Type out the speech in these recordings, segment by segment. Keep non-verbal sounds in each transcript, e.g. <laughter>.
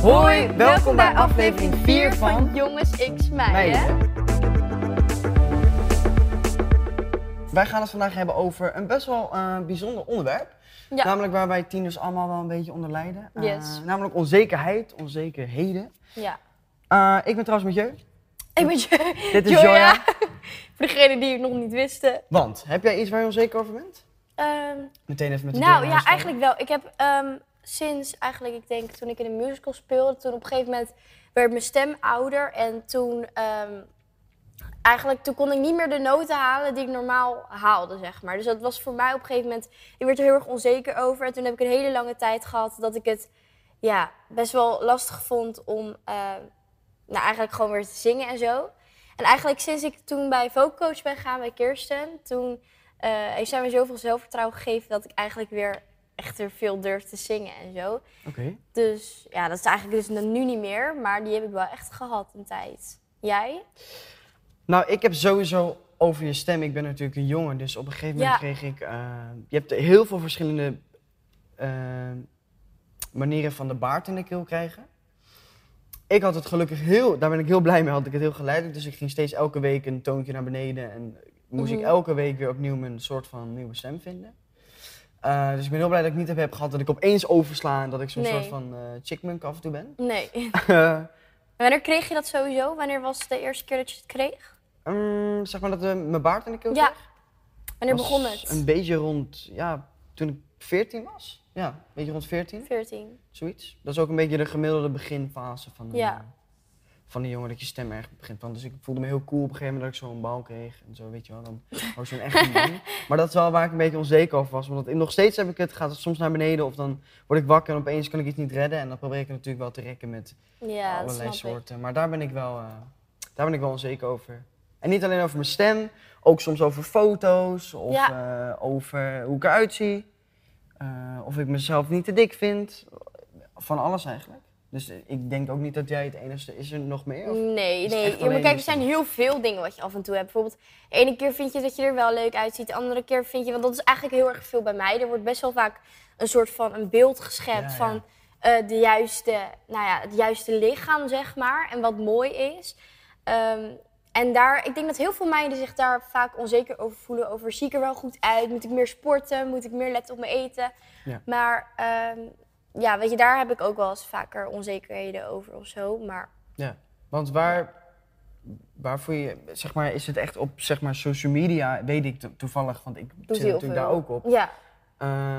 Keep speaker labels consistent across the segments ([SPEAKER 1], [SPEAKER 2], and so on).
[SPEAKER 1] Hoi, welkom bij aflevering 4 van
[SPEAKER 2] Jongens X Mij. hè?
[SPEAKER 1] Meiden. Wij gaan het vandaag hebben over een best wel eh, bijzonder onderwerp.
[SPEAKER 2] Ja.
[SPEAKER 1] Namelijk waar wij tieners allemaal wel een beetje onder lijden. Eh,
[SPEAKER 2] Yes.
[SPEAKER 1] namelijk onzekerheid, onzekerheden.
[SPEAKER 2] ja.
[SPEAKER 1] Eh, ik ben trouwens met je.
[SPEAKER 2] Ik ben jo
[SPEAKER 1] Dit is
[SPEAKER 2] Joya.
[SPEAKER 1] Joya.
[SPEAKER 2] <laughs> Voor degenen die het nog niet wisten.
[SPEAKER 1] Want, heb jij iets waar je onzeker over bent?
[SPEAKER 2] Ehm,
[SPEAKER 1] Meteen even met de deur
[SPEAKER 2] nou
[SPEAKER 1] in
[SPEAKER 2] ja,
[SPEAKER 1] huis vallen.
[SPEAKER 2] eigenlijk wel. Ik heb ehm, sinds eigenlijk, ik denk toen ik in een musical speelde, toen op een gegeven moment werd mijn stem ouder. En toen, ehm, eigenlijk, toen kon ik niet meer de noten halen die ik normaal haalde, zeg maar. Dus dat was voor mij op een gegeven moment, ik werd er heel erg onzeker over. En toen heb ik een hele lange tijd gehad dat ik het ja, best wel lastig vond om eh, nou, eigenlijk gewoon weer te zingen en zo. En eigenlijk sinds ik toen bij vocalcoach ben gegaan bij Kirsten, toen eh, heeft zij me zoveel zelfvertrouwen gegeven dat ik eigenlijk weer echt weer veel durf te zingen en zo.
[SPEAKER 1] Oké.
[SPEAKER 2] Dus ja, dat is eigenlijk dus nu niet meer, maar die heb ik wel echt gehad een tijd. Jij?
[SPEAKER 1] Nou, ik heb sowieso over je stem. Ik ben natuurlijk een jongen, dus op een gegeven moment
[SPEAKER 2] Ja.
[SPEAKER 1] kreeg ik. eh, je hebt heel veel verschillende eh, manieren van de baard in de keel krijgen. Ik had het gelukkig heel, daar ben ik heel blij mee, had ik het heel geleidelijk. Dus ik ging steeds elke week een toontje naar beneden en moest ik
[SPEAKER 2] Mhm.
[SPEAKER 1] elke week weer opnieuw mijn soort van nieuwe stem vinden. Eh, dus ik ben heel blij dat ik niet heb, heb gehad dat ik opeens oversla en dat ik zo'n
[SPEAKER 2] Nee.
[SPEAKER 1] soort van eh chickmunk af en toe ben. <laughs>
[SPEAKER 2] Nee. <laughs> Wanneer kreeg je dat sowieso? Wanneer was het de eerste keer dat je het kreeg?
[SPEAKER 1] Ehm, zeg maar dat eh, mijn baard in de keel
[SPEAKER 2] Ja. Wanneer
[SPEAKER 1] was
[SPEAKER 2] begon het?
[SPEAKER 1] Een beetje rond, ja, toen ik 14 was. Ja, een beetje rond 14,
[SPEAKER 2] 14.
[SPEAKER 1] zoiets. Dat is ook een beetje de gemiddelde beginfase van de,
[SPEAKER 2] Ja.
[SPEAKER 1] van de jongen, dat je stem erg begint van. Dus ik voelde me heel cool op een gegeven moment dat ik zo'n bal kreeg en zo, weet je wel. Dan ook zo'n echte
[SPEAKER 2] <laughs>
[SPEAKER 1] man. Maar dat is wel waar ik een beetje onzeker over was, want dat- nog steeds heb ik het, gaat het soms naar beneden of dan word ik wakker en opeens kan ik iets niet redden. En dan probeer ik het natuurlijk wel te rekken met
[SPEAKER 2] Ja, dat
[SPEAKER 1] allerlei
[SPEAKER 2] snap ik.
[SPEAKER 1] soorten. Maar daar ben ik wel, eh, daar ben ik wel onzeker over. En niet alleen over mijn stem, ook soms over foto's of eh, over hoe ik eruit zie. Eh, of ik mezelf niet te dik vind. Van alles eigenlijk. Dus eh, ik denk ook niet dat jij het enigste is er nog meer. Of?
[SPEAKER 2] Nee,
[SPEAKER 1] Is het
[SPEAKER 2] nee.
[SPEAKER 1] echt
[SPEAKER 2] Ja, maar
[SPEAKER 1] alleen
[SPEAKER 2] kijk,
[SPEAKER 1] dus
[SPEAKER 2] er zijn heel veel dingen wat je af en toe hebt. Bijvoorbeeld, de ene keer vind je dat je er wel leuk uitziet. De andere keer vind je... Want dat is eigenlijk heel erg veel bij mij. Er wordt best wel vaak een soort van een beeld geschept
[SPEAKER 1] Ja, ja.
[SPEAKER 2] van eh, de juiste, nou ja, het juiste lichaam, zeg maar. En wat mooi is. Ehm, en daar, ik denk dat heel veel meiden zich daar vaak onzeker over voelen. Over zie ik er wel goed uit? Moet ik meer sporten? Moet ik meer letten op mijn eten?
[SPEAKER 1] Ja.
[SPEAKER 2] Maar ehm, ja, weet je, daar heb ik ook wel eens vaker onzekerheden over of zo. Maar
[SPEAKER 1] Ja. Want waar, waar voel je, zeg maar, is het echt op zeg maar, social media? Weet ik to- toevallig, want ik zit
[SPEAKER 2] heel
[SPEAKER 1] natuurlijk daar
[SPEAKER 2] veel.
[SPEAKER 1] ook op.
[SPEAKER 2] ja.
[SPEAKER 1] Eh,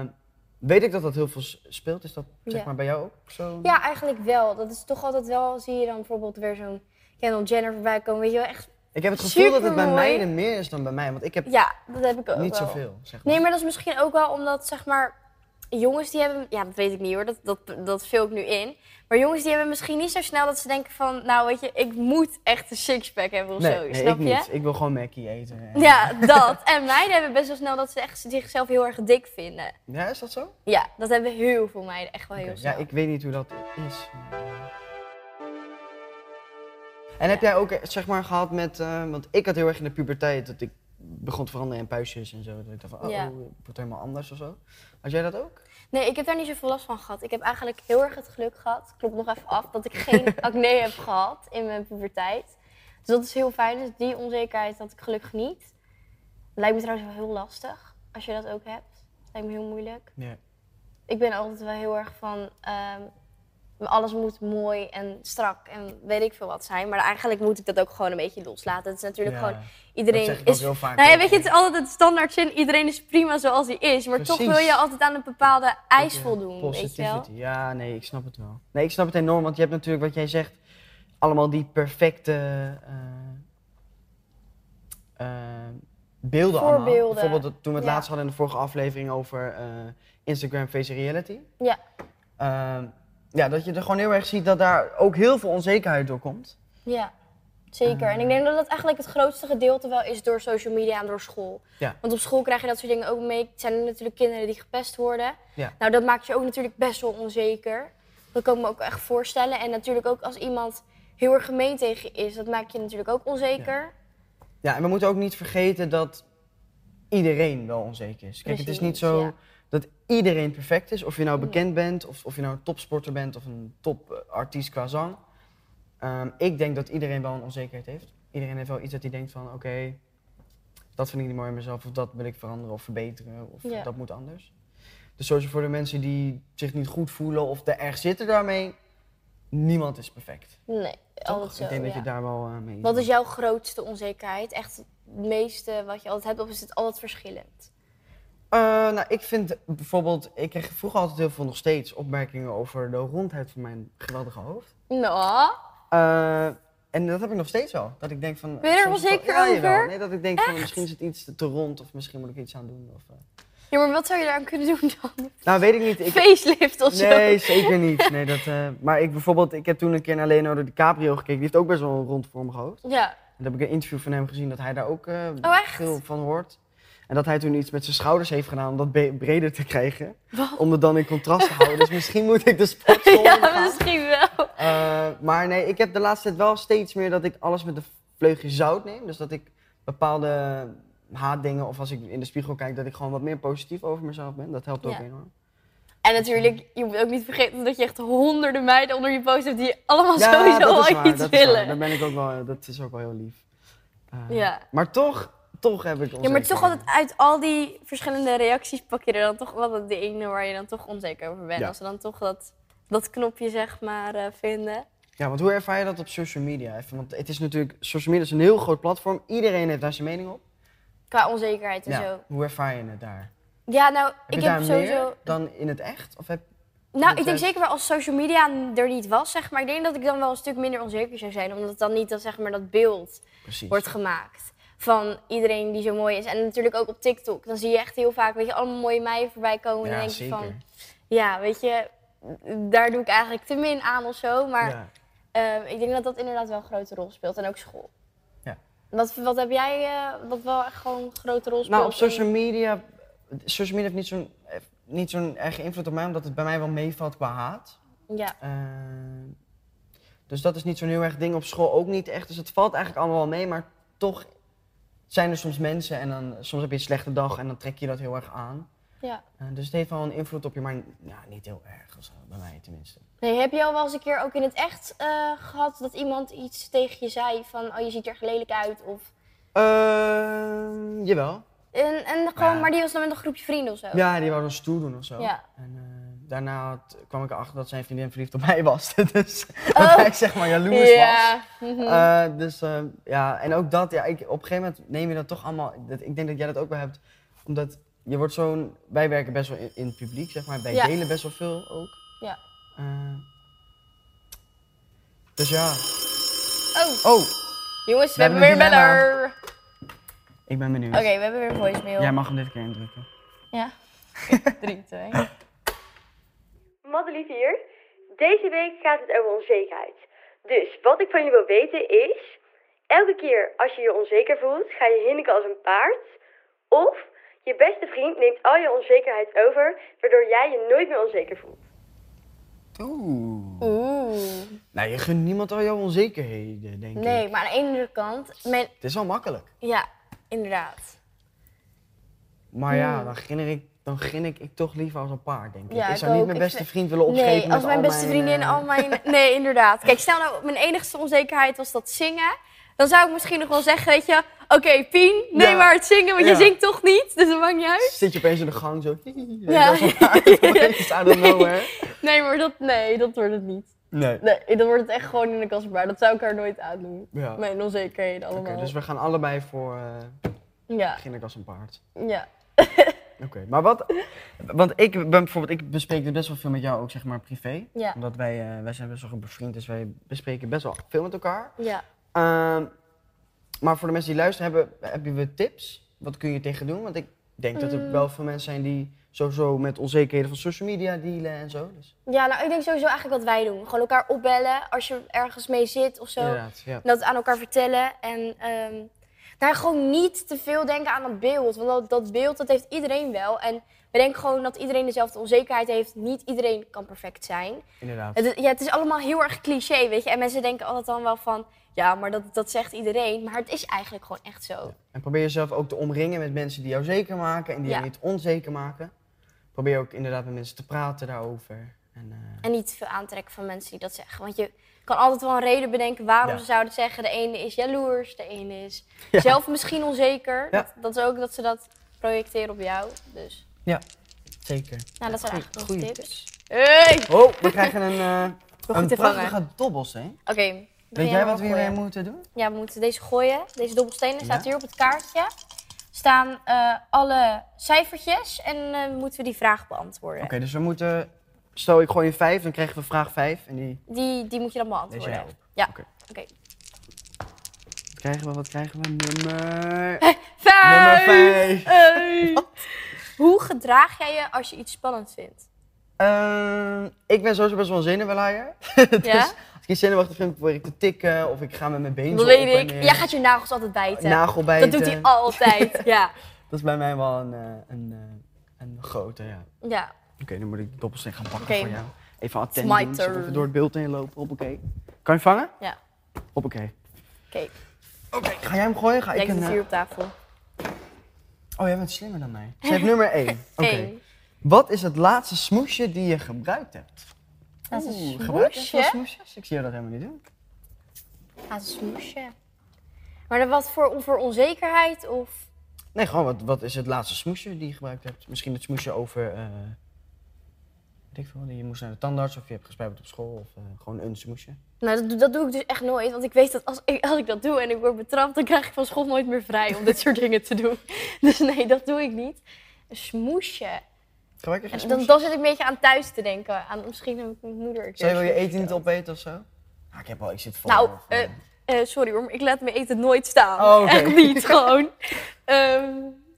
[SPEAKER 1] weet ik dat dat heel veel s- speelt? Is dat zeg
[SPEAKER 2] Ja.
[SPEAKER 1] maar bij jou ook zo?
[SPEAKER 2] Ja, eigenlijk wel. Dat is toch altijd wel, zie je dan bijvoorbeeld weer zo'n Kendall Jenner voorbij komen. Weet je wel, echt,
[SPEAKER 1] Ik heb het gevoel dat het bij
[SPEAKER 2] Supermooi.
[SPEAKER 1] meiden meer is dan bij mij, want ik heb
[SPEAKER 2] ja, dat heb ik ook
[SPEAKER 1] niet
[SPEAKER 2] wel.
[SPEAKER 1] zoveel. Zeg maar.
[SPEAKER 2] Nee, maar dat is misschien ook wel omdat, zeg maar, jongens die hebben... Ja, dat weet ik niet hoor, dat, dat, dat vul ik nu in. Maar jongens die hebben misschien niet zo snel dat ze denken van... Nou, weet je, ik moet echt een sixpack hebben of
[SPEAKER 1] nee,
[SPEAKER 2] zo,
[SPEAKER 1] nee,
[SPEAKER 2] snap
[SPEAKER 1] ik
[SPEAKER 2] je?
[SPEAKER 1] niet. Ik wil gewoon Mackie eten. En-
[SPEAKER 2] Ja, dat. En meiden hebben best wel snel dat ze echt zichzelf heel erg dik vinden.
[SPEAKER 1] Ja, is dat zo?
[SPEAKER 2] Ja, dat hebben heel veel meiden echt wel
[SPEAKER 1] Oké,
[SPEAKER 2] heel
[SPEAKER 1] Ja,
[SPEAKER 2] snel.
[SPEAKER 1] ik weet niet hoe dat is. En heb jij ook eh, zeg maar gehad met, eh, want ik had heel erg in de puberteit dat ik begon te veranderen in puistjes en zo. Dat ik dacht van, oh,
[SPEAKER 2] Ja.
[SPEAKER 1] het wordt helemaal anders of zo. Had jij dat ook?
[SPEAKER 2] Nee, ik heb daar niet zoveel last van gehad. Ik heb eigenlijk heel erg het geluk gehad, klopt nog even af, dat ik
[SPEAKER 1] <laughs>
[SPEAKER 2] geen acne heb gehad in mijn puberteit. Dus dat is heel fijn. Dus die onzekerheid had ik gelukkig niet. Lijkt me trouwens wel heel lastig, als je dat ook hebt. Lijkt me heel moeilijk.
[SPEAKER 1] Nee.
[SPEAKER 2] Ik ben altijd wel heel erg van, ehm, alles moet mooi en strak en weet ik veel wat zijn. Maar eigenlijk moet ik dat ook gewoon een beetje loslaten. Het is natuurlijk gewoon, iedereen
[SPEAKER 1] dat zeg ik ook
[SPEAKER 2] is
[SPEAKER 1] heel vaak.
[SPEAKER 2] nou ja,
[SPEAKER 1] ook.
[SPEAKER 2] weet je, het is altijd het standaard zin. Iedereen is prima zoals hij is. Maar toch
[SPEAKER 1] Precies.
[SPEAKER 2] wil je altijd aan een bepaalde eis
[SPEAKER 1] Ja,
[SPEAKER 2] voldoen, weet je wel?
[SPEAKER 1] positivity. Ja, nee, ik snap het wel. Nee, ik snap het enorm, want je hebt natuurlijk wat jij zegt, allemaal die perfecte eh, eh, beelden allemaal.
[SPEAKER 2] Voorbeelden.
[SPEAKER 1] Bijvoorbeeld dat- toen we het
[SPEAKER 2] Ja.
[SPEAKER 1] laatst hadden in de vorige aflevering over eh, Instagram face reality.
[SPEAKER 2] Ja.
[SPEAKER 1] Ehm, ja, dat je er gewoon heel erg ziet dat daar ook heel veel onzekerheid door komt.
[SPEAKER 2] Ja, zeker. En ik denk dat dat eigenlijk het grootste gedeelte wel is door social media en door school.
[SPEAKER 1] Ja.
[SPEAKER 2] Want op school krijg je dat soort dingen ook mee. Het zijn er natuurlijk kinderen die gepest worden.
[SPEAKER 1] Ja.
[SPEAKER 2] Nou, dat maakt je ook natuurlijk best wel onzeker. Dat kan ik me ook echt voorstellen. En natuurlijk ook als iemand heel erg gemeen tegen je is, dat maakt je natuurlijk ook onzeker.
[SPEAKER 1] Ja, en we moeten ook niet vergeten dat iedereen wel onzeker is. Kijk, het is
[SPEAKER 2] Precies,
[SPEAKER 1] niet zo
[SPEAKER 2] ja.
[SPEAKER 1] dat iedereen perfect is. Of je nou bekend bent, of, of je nou een topsporter bent of een topartiest qua zang. Ehm, ik denk dat iedereen wel een onzekerheid heeft. Iedereen heeft wel iets dat hij denkt van oké, dat vind ik niet mooi in mezelf, of dat wil ik veranderen of verbeteren, of
[SPEAKER 2] Ja.
[SPEAKER 1] dat moet anders. Dus sowieso voor de mensen die zich niet goed voelen of er erg zitten daarmee, niemand is perfect.
[SPEAKER 2] Nee, altijd
[SPEAKER 1] Toch?
[SPEAKER 2] zo.
[SPEAKER 1] ik denk dat
[SPEAKER 2] ja.
[SPEAKER 1] je daar wel eh, mee
[SPEAKER 2] Wat is jouw grootste onzekerheid? Echt het meeste wat je altijd hebt, of is het altijd verschillend?
[SPEAKER 1] Eh, nou, ik vind bijvoorbeeld, ik kreeg vroeger altijd heel veel nog steeds opmerkingen over de rondheid van mijn geweldige hoofd.
[SPEAKER 2] Nou,
[SPEAKER 1] Eh, en dat heb ik nog steeds wel. Dat ik denk van.
[SPEAKER 2] Ben je er
[SPEAKER 1] soms
[SPEAKER 2] wel
[SPEAKER 1] wel-
[SPEAKER 2] zeker
[SPEAKER 1] ja, jawel.
[SPEAKER 2] over?
[SPEAKER 1] Nee, dat ik denk van misschien is het iets te, te rond of misschien moet ik iets aan doen. Of, eh.
[SPEAKER 2] ja, maar wat zou je daaraan kunnen doen dan?
[SPEAKER 1] Nou, weet ik niet. Ik,
[SPEAKER 2] Facelift of zo?
[SPEAKER 1] nee, zeker niet. Nee, dat, eh, maar ik bijvoorbeeld, ik heb toen een keer naar Leonardo DiCaprio gekeken. Die heeft ook best wel een rondvormig hoofd.
[SPEAKER 2] Ja.
[SPEAKER 1] En dan heb ik een interview van hem gezien dat hij daar ook eh,
[SPEAKER 2] Oh, echt?
[SPEAKER 1] veel van hoort. En dat hij toen iets met zijn schouders heeft gedaan om dat be- breder te krijgen.
[SPEAKER 2] Wat?
[SPEAKER 1] Om het dan in contrast te houden. Dus misschien moet ik de sportschool
[SPEAKER 2] <laughs> ja,
[SPEAKER 1] ingaan.
[SPEAKER 2] misschien wel.
[SPEAKER 1] Eh, maar nee, ik heb de laatste tijd wel steeds meer dat ik alles met de vleugje zout neem. Dus dat ik bepaalde haatdingen of als ik in de spiegel kijk, dat ik gewoon wat meer positief over mezelf ben. Dat helpt ook
[SPEAKER 2] Ja.
[SPEAKER 1] enorm.
[SPEAKER 2] En natuurlijk, je moet ook niet vergeten dat je echt honderden meiden onder je post hebt die allemaal
[SPEAKER 1] Ja,
[SPEAKER 2] sowieso
[SPEAKER 1] dat is
[SPEAKER 2] al
[SPEAKER 1] waar,
[SPEAKER 2] iets
[SPEAKER 1] dat Is waar. Daar
[SPEAKER 2] willen.
[SPEAKER 1] ben ik ook wel, dat is ook wel heel lief. Eh,
[SPEAKER 2] Ja.
[SPEAKER 1] Maar toch, toch heb ik
[SPEAKER 2] Ja, maar toch
[SPEAKER 1] onzekerheden.
[SPEAKER 2] altijd uit al die verschillende reacties pak je er dan toch wel de ene waar je dan toch onzeker over bent.
[SPEAKER 1] Ja.
[SPEAKER 2] Als ze dan toch dat, dat knopje zeg maar eh, vinden.
[SPEAKER 1] Ja, want hoe ervaar je dat op social media? Even, want het is natuurlijk, social media is een heel groot platform. Iedereen heeft daar zijn mening op.
[SPEAKER 2] Qua onzekerheid en zo.
[SPEAKER 1] Hoe ervaar je het daar?
[SPEAKER 2] Ja, nou,
[SPEAKER 1] Heb
[SPEAKER 2] ik
[SPEAKER 1] je daar
[SPEAKER 2] heb sowieso...
[SPEAKER 1] meer dan in het echt? Of heb...
[SPEAKER 2] Nou,
[SPEAKER 1] Dat
[SPEAKER 2] ik denk
[SPEAKER 1] juist-
[SPEAKER 2] zeker wel als social media er niet was, zeg maar. Ik denk dat ik dan wel een stuk minder onzeker zou zijn. Omdat dan niet dat, zeg maar, dat beeld
[SPEAKER 1] Precies.
[SPEAKER 2] wordt gemaakt. Van iedereen die zo mooi is. En natuurlijk ook op TikTok. Dan zie je echt heel vaak, weet je, allemaal mooie meiden voorbij komen. en dan
[SPEAKER 1] ja,
[SPEAKER 2] denk
[SPEAKER 1] zeker.
[SPEAKER 2] je van, ja, weet je, daar doe ik eigenlijk te min aan of zo. Maar
[SPEAKER 1] Ja.
[SPEAKER 2] eh, ik denk dat dat inderdaad wel een grote rol speelt. En ook school.
[SPEAKER 1] Ja.
[SPEAKER 2] Wat, wat heb jij, eh, wat wel echt gewoon een grote rol speelt?
[SPEAKER 1] Nou, op
[SPEAKER 2] in-
[SPEAKER 1] social media. Social media heeft niet zo'n, heeft niet zo'n erge invloed op mij, omdat het bij mij wel meevalt qua haat.
[SPEAKER 2] Ja,
[SPEAKER 1] Eh, dus dat is niet zo'n heel erg ding. Op school ook niet echt. Dus het valt eigenlijk allemaal wel mee, maar toch zijn er soms mensen en dan soms heb je een slechte dag en dan trek je dat heel erg aan.
[SPEAKER 2] ja.
[SPEAKER 1] Eh, dus het heeft wel een invloed op je, maar ja, niet heel erg. of zo, bij mij tenminste.
[SPEAKER 2] Nee, heb je al wel eens een keer ook in het echt eh, gehad dat iemand iets tegen je zei van oh je ziet er echt lelijk uit of
[SPEAKER 1] Ehm, jawel.
[SPEAKER 2] en, en gewoon
[SPEAKER 1] Ja.
[SPEAKER 2] maar die was dan met een groepje vrienden of zo.
[SPEAKER 1] Ja, die wou dan stoer doen of zo.
[SPEAKER 2] Ja.
[SPEAKER 1] En eh, daarna had- kwam ik erachter dat zijn vriendin verliefd op <laughs> mij was. dus
[SPEAKER 2] Oh.
[SPEAKER 1] dat hij zeg maar jaloers was.
[SPEAKER 2] Ja, mhm.
[SPEAKER 1] Eh, dus eh, ja, en ook dat, ja, ik, op een gegeven moment neem je dat toch allemaal. Dat, ik denk dat jij dat ook wel hebt, omdat je wordt zo'n. Wij werken best wel in, in het publiek, zeg maar. Wij
[SPEAKER 2] Ja.
[SPEAKER 1] delen best wel veel ook.
[SPEAKER 2] Ja.
[SPEAKER 1] Eh, dus ja.
[SPEAKER 2] Oh,
[SPEAKER 1] Oh,
[SPEAKER 2] jongens, we,
[SPEAKER 1] We hebben
[SPEAKER 2] hebben weer een
[SPEAKER 1] een dilemma.
[SPEAKER 2] beller.
[SPEAKER 1] ik ben benieuwd.
[SPEAKER 2] Oké, we hebben weer een voicemail.
[SPEAKER 1] Jij mag hem dit keer indrukken.
[SPEAKER 2] Ja. 3, 2.
[SPEAKER 3] Madelief hier. Deze week gaat het over onzekerheid. Dus wat ik van jullie wil weten is... Elke keer als je je onzeker voelt, ga je hinniken als een paard. Of je beste vriend neemt al je onzekerheid over... waardoor jij je nooit meer onzeker voelt.
[SPEAKER 1] Oeh.
[SPEAKER 2] Oeh.
[SPEAKER 1] Nou, je gunt niemand al jouw onzekerheden, denk ik.
[SPEAKER 2] Nee, maar aan de ene kant, mijn,
[SPEAKER 1] Het is wel makkelijk.
[SPEAKER 2] ja, inderdaad.
[SPEAKER 1] Maar ja, dan ginnik ik, dan ginnik ik toch liever als een paard, denk ik.
[SPEAKER 2] Hmm. Ja,
[SPEAKER 1] ik
[SPEAKER 2] ik
[SPEAKER 1] zou niet
[SPEAKER 2] ook.
[SPEAKER 1] mijn
[SPEAKER 2] Ik
[SPEAKER 1] beste
[SPEAKER 2] vind-
[SPEAKER 1] vriend willen opgeven
[SPEAKER 2] Nee,
[SPEAKER 1] met
[SPEAKER 2] als mijn
[SPEAKER 1] al
[SPEAKER 2] beste vriendin
[SPEAKER 1] eh,
[SPEAKER 2] al <laughs> mijn... Nee, inderdaad. Kijk, stel nou, mijn enigste onzekerheid was dat zingen. Dan zou ik misschien nog wel zeggen, weet je... Oké, Pien, neem
[SPEAKER 1] Ja.
[SPEAKER 2] maar het zingen, want
[SPEAKER 1] Ja.
[SPEAKER 2] je zingt toch niet? Dus dat maakt niet uit.
[SPEAKER 1] Zit je opeens in de gang zo. <laughs> Ja.
[SPEAKER 2] Ja.
[SPEAKER 1] Als een paard, <laughs> opeens, I don't know, hè?
[SPEAKER 2] Nee, maar dat, nee, dat wordt het niet.
[SPEAKER 1] Nee.
[SPEAKER 2] Nee, dan wordt het echt gewoon in de kasbaar. Dat zou ik haar nooit aandoen.
[SPEAKER 1] Ja. Oké,
[SPEAKER 2] Mijn onzekerheden allemaal.
[SPEAKER 1] dus we gaan allebei voor eh
[SPEAKER 2] Ja,
[SPEAKER 1] beginnen als een paard.
[SPEAKER 2] ja.
[SPEAKER 1] Oké, maar wat... Want ik ben bijvoorbeeld, ik bespreek dit best wel veel met jou ook, zeg maar, privé.
[SPEAKER 2] Ja.
[SPEAKER 1] Omdat wij, eh, wij zijn best wel goed bevriend, dus wij bespreken best wel veel met elkaar.
[SPEAKER 2] Ja.
[SPEAKER 1] Ehm, maar voor de mensen die luisteren, hebben, hebben we tips? Wat kun je tegen doen? Want ik denk dat er
[SPEAKER 2] Mm.
[SPEAKER 1] wel veel mensen zijn die sowieso met onzekerheden van social media dealen en zo. Dus,
[SPEAKER 2] Ja, nou, ik denk sowieso eigenlijk wat wij doen. Gewoon elkaar opbellen als je ergens mee zit of zo.
[SPEAKER 1] Inderdaad, ja.
[SPEAKER 2] Dat aan elkaar vertellen en ehm, daar gewoon niet te veel denken aan dat beeld. Want dat, dat beeld, dat heeft iedereen wel. En we denken gewoon dat iedereen dezelfde onzekerheid heeft. Niet iedereen kan perfect zijn.
[SPEAKER 1] Inderdaad.
[SPEAKER 2] Het, ja, het is allemaal heel erg cliché, weet je. En mensen denken altijd dan wel van, ja, maar dat, dat zegt iedereen. Maar het is eigenlijk gewoon echt zo.
[SPEAKER 1] En probeer jezelf ook te omringen met mensen die jou zeker maken en die
[SPEAKER 2] Ja.
[SPEAKER 1] jou niet onzeker maken. probeer ook inderdaad met mensen te praten daarover. En, eh,
[SPEAKER 2] En niet te veel aantrekken van mensen die dat zeggen. Want je kan altijd wel een reden bedenken waarom
[SPEAKER 1] Ja.
[SPEAKER 2] ze zouden zeggen. De ene is jaloers, de ene is zelf misschien onzeker.
[SPEAKER 1] Ja.
[SPEAKER 2] Dat, dat is ook dat ze dat projecteren op jou. Dus,
[SPEAKER 1] ja, zeker.
[SPEAKER 2] nou, dat zijn
[SPEAKER 1] Goeie-
[SPEAKER 2] eigenlijk nog
[SPEAKER 1] goeie
[SPEAKER 2] tips. Hey! Oké,
[SPEAKER 1] Oh, we krijgen
[SPEAKER 2] <laughs>
[SPEAKER 1] een, eh, een
[SPEAKER 2] te vangen.
[SPEAKER 1] prachtige dobbels, hè?
[SPEAKER 2] begin
[SPEAKER 1] Weet
[SPEAKER 2] jij
[SPEAKER 1] jij
[SPEAKER 2] maar
[SPEAKER 1] wat we
[SPEAKER 2] gooien.
[SPEAKER 1] hiermee moeten doen?
[SPEAKER 2] Ja, we moeten deze gooien. Deze dobbelstenen staat
[SPEAKER 1] Ja.
[SPEAKER 2] hier op het kaartje. Staan eh, alle cijfertjes en eh, moeten we die vraag beantwoorden.
[SPEAKER 1] Oké, dus we moeten... Stel, ik gooi een 5, dan krijgen we vraag 5. En die
[SPEAKER 2] Die, die moet je dan beantwoorden.
[SPEAKER 1] Deze ook.
[SPEAKER 2] Ja.
[SPEAKER 1] Oké.
[SPEAKER 2] Oké.
[SPEAKER 1] wat krijgen we, wat krijgen we? Nummer...
[SPEAKER 2] Vijf!
[SPEAKER 1] vijf. <laughs>
[SPEAKER 2] Hey. Hoe gedraag jij je als je iets spannend
[SPEAKER 1] <laughs>
[SPEAKER 2] vindt?
[SPEAKER 1] Ehm, ik ben sowieso best wel een zenuwelaaier. dus
[SPEAKER 2] Ja?
[SPEAKER 1] als ik iets zenuwachtig vind, probeer ik te tikken. Of ik ga met mijn been
[SPEAKER 2] Dat
[SPEAKER 1] zo
[SPEAKER 2] weet
[SPEAKER 1] op en
[SPEAKER 2] ik.
[SPEAKER 1] neer.
[SPEAKER 2] Jij gaat je nagels altijd bijten.
[SPEAKER 1] Nagelbijten.
[SPEAKER 2] Dat doet hij
[SPEAKER 1] <laughs>
[SPEAKER 2] altijd. ja.
[SPEAKER 1] Dat is bij mij wel een, eh, een, eh, een grote, ja.
[SPEAKER 2] ja.
[SPEAKER 1] Oké, dan moet ik dobbelsteen gaan pakken
[SPEAKER 2] Oké.
[SPEAKER 1] voor jou. Even attent
[SPEAKER 2] It's my
[SPEAKER 1] doen, zodat we
[SPEAKER 2] turn.
[SPEAKER 1] door het beeld heen lopen. Hoppakee. Kan je vangen?
[SPEAKER 2] Ja.
[SPEAKER 1] Hoppakee.
[SPEAKER 2] Oké.
[SPEAKER 1] Oké, ga jij hem gooien? Ga
[SPEAKER 2] Jij
[SPEAKER 1] ik
[SPEAKER 2] zit
[SPEAKER 1] een... eh,
[SPEAKER 2] hier op tafel.
[SPEAKER 1] Oh, jij bent slimmer dan mij. Zeg nummer 1.
[SPEAKER 2] <laughs>
[SPEAKER 1] Oké.
[SPEAKER 2] Eén.
[SPEAKER 1] Wat is het laatste smoesje die je gebruikt hebt?
[SPEAKER 2] Laatste
[SPEAKER 1] Oeh, gebruik je veel
[SPEAKER 2] smoesje?
[SPEAKER 1] smoesjes? Ik zie jou dat helemaal niet doen.
[SPEAKER 2] Gaat een smoesje. Maar dan wat voor, voor onzekerheid of...
[SPEAKER 1] Nee, gewoon wat, wat is het laatste smoesje die je gebruikt hebt? Misschien het smoesje over. eh weet ik veel, je moest naar de tandarts of je hebt gespijbeld op school of eh, gewoon een smoesje.
[SPEAKER 2] Nou, dat, doe- dat doe ik dus echt nooit. Want ik weet dat als ik, als ik dat doe en ik word betrapt, dan krijg ik van school nooit meer vrij om dit soort <laughs> dingen te doen. Dus nee, dat doe ik niet. Een smoesje.
[SPEAKER 1] Gebruik je geen
[SPEAKER 2] En Dan,
[SPEAKER 1] smoesje?
[SPEAKER 2] dan zit ik een beetje aan thuis te denken. Aan, misschien heb ik mijn moeder een keer
[SPEAKER 1] Zou je wel je
[SPEAKER 2] smoesje
[SPEAKER 1] eten niet
[SPEAKER 2] gehad.
[SPEAKER 1] opeten of zo? Ah, ik heb al, ik zit vol.
[SPEAKER 2] Nou,
[SPEAKER 1] of,
[SPEAKER 2] eh,
[SPEAKER 1] eh,
[SPEAKER 2] eh, sorry hoor, maar ik laat mijn eten nooit staan.
[SPEAKER 1] Oh, oké.
[SPEAKER 2] Echt niet, gewoon. Ehm,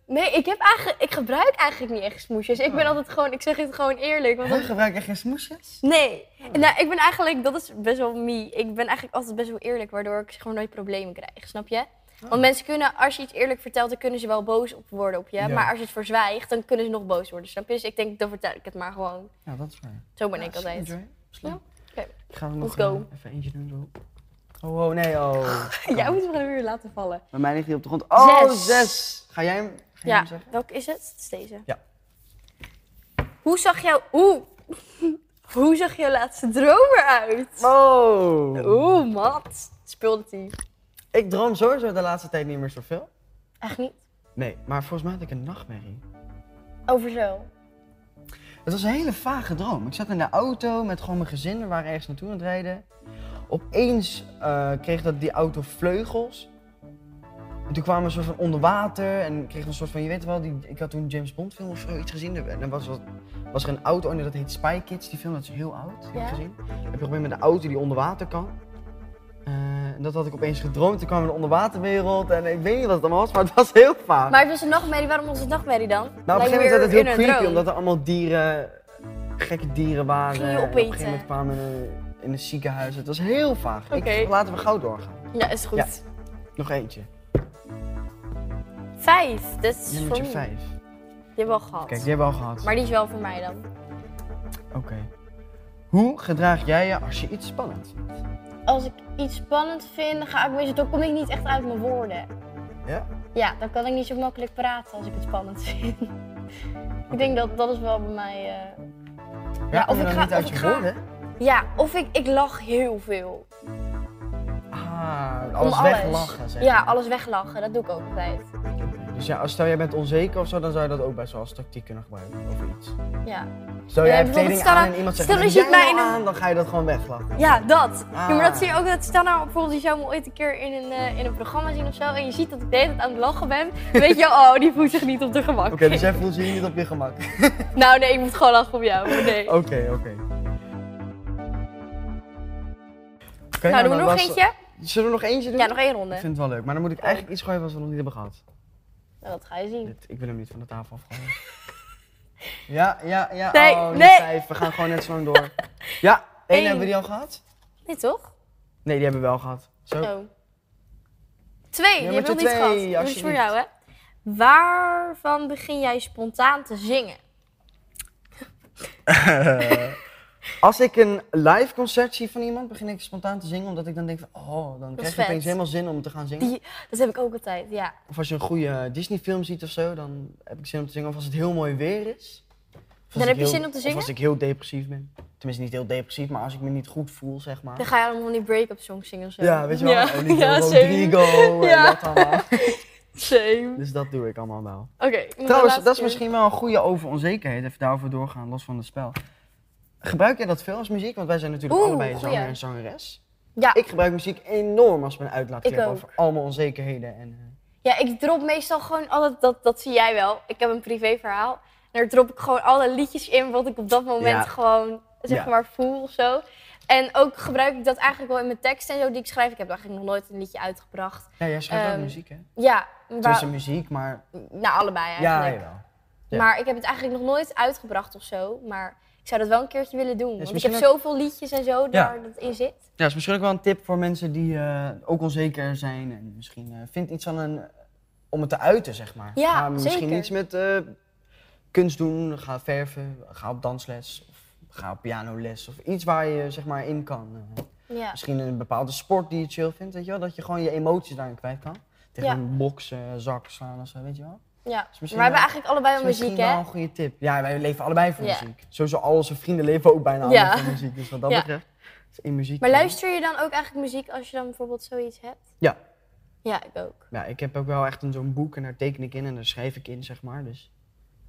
[SPEAKER 2] nee, ik, heb eigenlijk, ik gebruik eigenlijk niet echt smoesjes. Ik
[SPEAKER 1] Oh.
[SPEAKER 2] ben altijd gewoon, ik zeg het gewoon eerlijk. Want
[SPEAKER 1] hè, gebruik je geen smoesjes?
[SPEAKER 2] Nee.
[SPEAKER 1] Oh.
[SPEAKER 2] Nou, ik ben eigenlijk, dat is best wel me. Ik ben eigenlijk altijd best wel eerlijk, waardoor ik gewoon nooit problemen krijg, snap je?
[SPEAKER 1] Oh.
[SPEAKER 2] Want mensen kunnen, als je iets eerlijk vertelt, dan kunnen ze wel boos op worden op je.
[SPEAKER 1] Ja.
[SPEAKER 2] Maar als je het verzwijgt, dan kunnen ze nog boos worden, snap je? Dus ik denk, dan vertel ik het maar gewoon.
[SPEAKER 1] Ja, dat is waar.
[SPEAKER 2] Zo ben
[SPEAKER 1] Ja,
[SPEAKER 2] ik altijd.
[SPEAKER 1] slim, Joy. Slim.
[SPEAKER 2] Oké.
[SPEAKER 1] Ik ga er nog
[SPEAKER 2] Let's go.
[SPEAKER 1] eh, even eentje doen zo. Oh, oh, nee, oh.
[SPEAKER 2] <laughs> Jij moet hem gewoon weer laten vallen.
[SPEAKER 1] Bij mij ligt hij op de grond. Oh,
[SPEAKER 2] Zes.
[SPEAKER 1] zes. Ga jij hem, ga jij
[SPEAKER 2] Ja,
[SPEAKER 1] hem zeggen?
[SPEAKER 2] welke is het? Het is deze.
[SPEAKER 1] Ja.
[SPEAKER 2] Hoe zag jouw... Oeh. <laughs> Hoe zag jouw laatste droom eruit?
[SPEAKER 1] Oh.
[SPEAKER 2] Oeh, mat. Speelde die.
[SPEAKER 1] Ik droom sowieso de laatste tijd niet meer zoveel.
[SPEAKER 2] Echt niet?
[SPEAKER 1] Nee, maar volgens mij had ik een nachtmerrie.
[SPEAKER 2] Over zo.
[SPEAKER 1] Het was een hele vage droom. Ik zat in de auto met gewoon mijn gezin. We waren ergens naartoe aan het rijden. Opeens eh, kreeg dat die auto vleugels. En toen kwamen we soort van onder water en kreeg een soort van, je weet wel, die, ik had toen een James Bond film of zoiets gezien. Er- En dan was, wat- was er een auto, en dat heet Spy Kids, die film, dat is heel oud, heb
[SPEAKER 2] Ja.
[SPEAKER 1] je gezien. Heb je geprobeerd met een auto die onder water kan. Eh, en dat had ik opeens gedroomd. Toen kwam we in de onderwaterwereld en ik weet niet wat het allemaal was, maar het was heel vaag.
[SPEAKER 2] Maar het was een nachtmerrie. Waarom was het nachtmerrie dan?
[SPEAKER 1] Nou, op een
[SPEAKER 2] Lijkt
[SPEAKER 1] gegeven moment werd het
[SPEAKER 2] weer
[SPEAKER 1] heel
[SPEAKER 2] in een
[SPEAKER 1] creepy,
[SPEAKER 2] droom.
[SPEAKER 1] omdat er allemaal dieren, gekke dieren waren.
[SPEAKER 2] Ging je
[SPEAKER 1] En op een
[SPEAKER 2] opeten?
[SPEAKER 1] gegeven moment kwamen we in een- in een ziekenhuis. Het was heel vaag.
[SPEAKER 2] Oké.
[SPEAKER 1] Ik, laten we gauw doorgaan.
[SPEAKER 2] Ja, is goed.
[SPEAKER 1] Ja. Nog eentje.
[SPEAKER 2] Vijf. Dat is voor
[SPEAKER 1] Nummertje
[SPEAKER 2] mij.
[SPEAKER 1] 5.
[SPEAKER 2] Die hebben we al gehad.
[SPEAKER 1] Kijk, die hebben we al gehad.
[SPEAKER 2] Maar die is wel voor mij dan.
[SPEAKER 1] Oké. Hoe gedraag jij je als je iets spannend vindt?
[SPEAKER 2] Als ik iets spannend vind, dan ga ik meestal, dan kom ik niet echt uit mijn woorden.
[SPEAKER 1] Ja?
[SPEAKER 2] Ja, dan kan ik niet zo makkelijk praten als ik het spannend <laughs> vind. Ik denk dat dat is wel bij mij. eh,
[SPEAKER 1] ja
[SPEAKER 2] of
[SPEAKER 1] je
[SPEAKER 2] ik
[SPEAKER 1] dan
[SPEAKER 2] ga-
[SPEAKER 1] niet
[SPEAKER 2] of
[SPEAKER 1] uit
[SPEAKER 2] ik
[SPEAKER 1] je
[SPEAKER 2] ga-
[SPEAKER 1] woorden?
[SPEAKER 2] Ja, of ik, ik lach heel veel.
[SPEAKER 1] Ah,
[SPEAKER 2] Om
[SPEAKER 1] alles weglachen zeg
[SPEAKER 2] Ja,
[SPEAKER 1] je.
[SPEAKER 2] alles weglachen. Dat doe ik ook altijd.
[SPEAKER 1] Oké. Dus ja, als stel jij bent onzeker of zo, dan zou je dat ook best wel als tactiek kunnen gebruiken. Of iets.
[SPEAKER 2] Ja.
[SPEAKER 1] Stel jij
[SPEAKER 2] Ja,
[SPEAKER 1] hebt
[SPEAKER 2] bijvoorbeeld,
[SPEAKER 1] kleding
[SPEAKER 2] stel
[SPEAKER 1] aan
[SPEAKER 2] nou-
[SPEAKER 1] en iemand zegt,
[SPEAKER 2] stel
[SPEAKER 1] heb
[SPEAKER 2] je
[SPEAKER 1] jij
[SPEAKER 2] ziet mij
[SPEAKER 1] nou
[SPEAKER 2] in een-
[SPEAKER 1] aan, dan ga je dat gewoon weglachen.
[SPEAKER 2] Ja, dat. Ja, maar dat
[SPEAKER 1] Ah.
[SPEAKER 2] zie je ook. Dat, stel nou bijvoorbeeld, je zou me ooit een keer in een, eh, in een programma zien of zo. En je ziet dat ik de hele tijd aan het lachen
[SPEAKER 1] <laughs>
[SPEAKER 2] ben. Weet je, oh, die voelt zich niet op de gemak.
[SPEAKER 1] Oké, dus jij voelt je hier niet op je gemak.
[SPEAKER 2] <laughs> Nou, nee, ik moet gewoon lachen op jou. maar Nee.
[SPEAKER 1] Oké, oké. Oké,
[SPEAKER 2] nou, doen we
[SPEAKER 1] dan
[SPEAKER 2] nog
[SPEAKER 1] was-
[SPEAKER 2] eentje?
[SPEAKER 1] Zullen we nog eentje doen?
[SPEAKER 2] Ja, nog één ronde.
[SPEAKER 1] Ik vind het wel leuk, maar dan moet ik eigenlijk iets gooien wat we nog niet hebben gehad.
[SPEAKER 2] Nou, dat ga je zien.
[SPEAKER 1] Dit- Ik wil hem niet van de tafel
[SPEAKER 2] <laughs>
[SPEAKER 1] afgooien. ja, ja, ja.
[SPEAKER 2] Nee,
[SPEAKER 1] oh, niet
[SPEAKER 2] nee.
[SPEAKER 1] vijf. We gaan gewoon net zo lang door. Ja, één
[SPEAKER 2] Eén.
[SPEAKER 1] hebben we die al gehad?
[SPEAKER 2] Nee, toch?
[SPEAKER 1] Nee, die hebben we wel gehad. Zo.
[SPEAKER 2] Zo. Twee, die
[SPEAKER 1] Nummertje
[SPEAKER 2] heb ik nog niet
[SPEAKER 1] twee,
[SPEAKER 2] gehad. Die is voor
[SPEAKER 1] alsjeblieft.
[SPEAKER 2] jou, hè? Waarvan begin jij spontaan te zingen?
[SPEAKER 1] Als ik een live concert zie van iemand, begin ik spontaan te zingen. Omdat ik dan denk van, oh, dan krijg je
[SPEAKER 2] vet.
[SPEAKER 1] opeens helemaal zin om te gaan zingen.
[SPEAKER 2] Die, dat heb ik ook altijd, ja.
[SPEAKER 1] Of als je een goede Disney film ziet of zo, dan heb ik zin om te zingen. Of als het heel mooi weer is. Of als
[SPEAKER 2] Dan heb
[SPEAKER 1] ik
[SPEAKER 2] je
[SPEAKER 1] heel-
[SPEAKER 2] zin om te
[SPEAKER 1] of
[SPEAKER 2] zingen?
[SPEAKER 1] als ik heel depressief ben. Tenminste, niet heel depressief, maar als ik me niet goed voel, zeg maar.
[SPEAKER 2] Dan ga je allemaal van die break-up songs zingen of zo.
[SPEAKER 1] Ja, weet je wel.
[SPEAKER 4] Ja,
[SPEAKER 1] En
[SPEAKER 2] <laughs>
[SPEAKER 4] <laughs>
[SPEAKER 1] die
[SPEAKER 4] ja, same.
[SPEAKER 1] Rodrigo
[SPEAKER 4] <laughs> Ja.
[SPEAKER 1] en dat allemaal.
[SPEAKER 4] Same.
[SPEAKER 1] Dus dat doe ik allemaal wel.
[SPEAKER 4] Oké.
[SPEAKER 1] Trouwens, dat is misschien wel een goede over onzekerheid. Even daarover doorgaan, los van het spel. Gebruik jij dat veel als muziek? Want wij zijn natuurlijk
[SPEAKER 2] Oeh,
[SPEAKER 1] allebei zanger
[SPEAKER 2] goeie.
[SPEAKER 1] en zangeres.
[SPEAKER 2] Ja.
[SPEAKER 1] Ik gebruik muziek enorm als mijn
[SPEAKER 2] Ik
[SPEAKER 1] uitlaatklep
[SPEAKER 2] ook.
[SPEAKER 1] over al mijn onzekerheden. En, eh,
[SPEAKER 2] Ja, ik drop meestal gewoon al dat, dat, dat zie jij wel. Ik heb een privéverhaal. En daar drop ik gewoon alle liedjes in wat ik op dat moment
[SPEAKER 1] Ja.
[SPEAKER 2] gewoon zeg
[SPEAKER 1] Ja.
[SPEAKER 2] maar voel of zo. En ook gebruik ik dat eigenlijk wel in mijn teksten en zo die ik schrijf. Ik heb eigenlijk nog nooit een liedje uitgebracht.
[SPEAKER 1] ja, jij schrijft ook
[SPEAKER 2] Ehm,
[SPEAKER 1] muziek, hè?
[SPEAKER 2] Ja, waar,
[SPEAKER 1] Tussen muziek, maar...
[SPEAKER 2] nou allebei
[SPEAKER 1] Dus Ja,
[SPEAKER 2] eigenlijk.
[SPEAKER 1] jawel. ja.
[SPEAKER 2] Maar ik heb het eigenlijk nog nooit uitgebracht of zo. Maar ik zou dat wel een keertje willen doen. want ik
[SPEAKER 1] Dus misschien
[SPEAKER 2] heb zoveel liedjes en zo daar dat in zit.
[SPEAKER 1] Ja, is misschien ook wel een tip voor mensen die eh, ook onzeker zijn. En misschien eh, vindt iets aan een... Om het te uiten, zeg maar.
[SPEAKER 2] Ja,
[SPEAKER 1] ga misschien
[SPEAKER 2] zeker.
[SPEAKER 1] iets met eh, kunst doen. Ga verven. Ga op dansles. Of ga op pianoles. Of iets waar je, zeg maar, in kan. eh.
[SPEAKER 2] Ja.
[SPEAKER 1] Misschien een bepaalde sport die je chill vindt, weet je wel? Dat je gewoon je emoties daarin kwijt kan. Tegen
[SPEAKER 2] Ja.
[SPEAKER 1] een boksen, zak slaan of zo, weet je wel?
[SPEAKER 2] ja.
[SPEAKER 1] misschien
[SPEAKER 2] Maar we
[SPEAKER 1] wel-
[SPEAKER 2] hebben eigenlijk allebei
[SPEAKER 1] is
[SPEAKER 2] wel
[SPEAKER 1] misschien
[SPEAKER 2] muziek, hè?
[SPEAKER 1] wel een goede tip. Ja, wij leven allebei voor
[SPEAKER 2] Ja.
[SPEAKER 1] muziek. Sowieso al onze vrienden leven ook bijna
[SPEAKER 2] Ja.
[SPEAKER 1] allemaal voor muziek. Dus wat dat
[SPEAKER 2] Ja.
[SPEAKER 1] betreft is in muziek.
[SPEAKER 2] Maar
[SPEAKER 1] eh,
[SPEAKER 2] luister je dan ook eigenlijk muziek als je dan bijvoorbeeld zoiets hebt?
[SPEAKER 1] Ja.
[SPEAKER 2] Ja, ik ook.
[SPEAKER 1] Ja, ik heb ook wel echt een- zo'n boek en daar teken ik in en daar schrijf ik in, zeg maar. Dus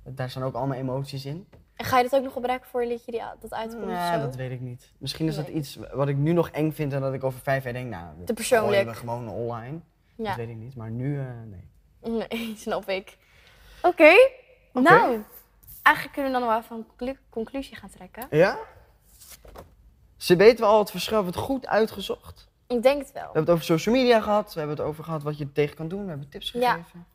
[SPEAKER 1] daar staan ook al mijn emoties in.
[SPEAKER 2] En ga je dat ook nog gebruiken voor een liedje die, dat uitkomt of
[SPEAKER 1] Ja,
[SPEAKER 2] zo? <laughs>
[SPEAKER 1] dat weet ik niet. Misschien is dat
[SPEAKER 2] Nee.
[SPEAKER 1] iets wat ik nu nog eng vind en dat ik over vijf jaar denk, nou, dat
[SPEAKER 2] Te persoonlijk.
[SPEAKER 1] gooien we gewoon online.
[SPEAKER 2] ja.
[SPEAKER 1] Dat weet ik niet. Maar nu, eh, nee.
[SPEAKER 2] Nee, snap ik. Oké. Nou, eigenlijk kunnen we dan wel even een conclu- conclusie gaan trekken.
[SPEAKER 1] Ja? Ze weten wel al het verschil. We hebben het goed uitgezocht.
[SPEAKER 2] Ik denk het wel.
[SPEAKER 1] We hebben het over social media gehad. We hebben het over gehad wat je er tegen kan doen. We hebben tips
[SPEAKER 2] Ja.
[SPEAKER 1] gegeven.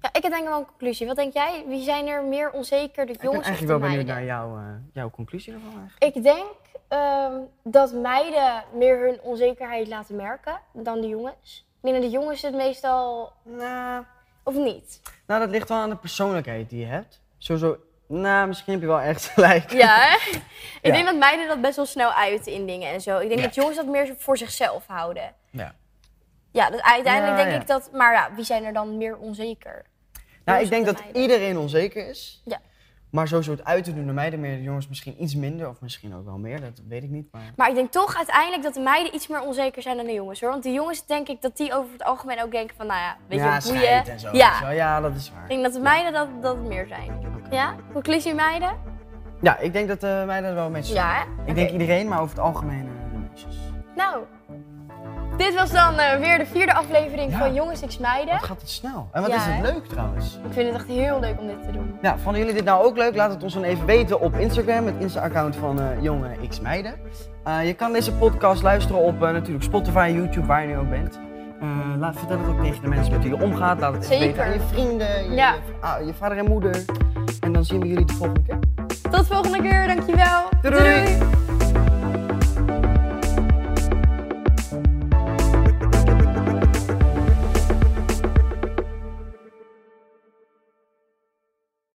[SPEAKER 2] Ja, ik heb denk ik wel een conclusie. Wat denk jij? Wie zijn er meer onzeker, de
[SPEAKER 1] ik ben
[SPEAKER 2] jongens of de
[SPEAKER 1] eigenlijk wel benieuwd
[SPEAKER 2] meiden?
[SPEAKER 1] naar jouw, eh, jouw conclusie ervan. Eigenlijk.
[SPEAKER 2] Ik denk ehm, dat meiden meer hun onzekerheid laten merken dan de jongens. Binnen de jongens het meestal,
[SPEAKER 1] Nou,
[SPEAKER 2] of niet?
[SPEAKER 1] nou, dat ligt wel aan de persoonlijkheid die je hebt. Sowieso, nou, misschien heb je wel echt gelijk.
[SPEAKER 2] Ja, hè? Ik
[SPEAKER 1] Ja.
[SPEAKER 2] denk dat meiden dat best wel snel uiten in dingen en zo. Ik denk
[SPEAKER 1] Ja.
[SPEAKER 2] dat jongens dat meer voor zichzelf houden.
[SPEAKER 1] Ja.
[SPEAKER 2] Ja, dus uiteindelijk
[SPEAKER 1] Ja,
[SPEAKER 2] denk
[SPEAKER 1] ja.
[SPEAKER 2] ik dat... Maar ja, wie zijn er dan meer onzeker?
[SPEAKER 1] Nou,
[SPEAKER 2] Jongens
[SPEAKER 1] ik denk
[SPEAKER 2] of
[SPEAKER 1] dat
[SPEAKER 2] meiden?
[SPEAKER 1] iedereen onzeker is.
[SPEAKER 2] Ja.
[SPEAKER 1] Maar sowieso het uit te doen naar meiden meer, de jongens misschien iets minder. Of misschien ook wel meer, dat weet ik niet. Maar...
[SPEAKER 2] Maar ik denk toch uiteindelijk dat de meiden iets meer onzeker zijn dan de jongens hoor. Want de jongens denk ik dat die over het algemeen ook denken van... Nou ja, weet
[SPEAKER 1] ja,
[SPEAKER 2] je, boeien.
[SPEAKER 1] scheid en zo. weet je
[SPEAKER 2] ja,
[SPEAKER 1] wel. ja, dat is waar.
[SPEAKER 2] ik denk dat de meiden dat, dat meer zijn. Ja? Conclusie meiden?
[SPEAKER 1] Ja, ik denk dat eh meiden er wel mee zijn.
[SPEAKER 2] Ja, hè?
[SPEAKER 1] Ik
[SPEAKER 2] Oké.
[SPEAKER 1] denk iedereen, maar over het algemeen eh, de meisjes.
[SPEAKER 2] Nou, dit was dan eh, weer de vierde aflevering
[SPEAKER 1] Ja.
[SPEAKER 2] van Jongens X Meiden.
[SPEAKER 1] Wat gaat het snel? En wat
[SPEAKER 2] Ja,
[SPEAKER 1] is het
[SPEAKER 2] hè?
[SPEAKER 1] leuk trouwens?
[SPEAKER 2] Ik vind het echt heel leuk om dit te doen.
[SPEAKER 1] Ja, vonden jullie dit nou ook leuk? Laat het ons dan even weten op Instagram, het Insta-account van eh Jonge X Meiden. Eh, je kan deze podcast luisteren op eh, natuurlijk Spotify, YouTube, waar je nu ook bent. Eh, laat, vertel het ook tegen de mensen met wie je omgaat. Laat het even
[SPEAKER 2] Zeker.
[SPEAKER 1] weten aan je vrienden, je,
[SPEAKER 2] Ja.
[SPEAKER 1] je, ah, je vader en moeder. En dan zien we jullie de volgende keer.
[SPEAKER 2] Tot volgende keer, dankjewel.
[SPEAKER 1] Doei, doei.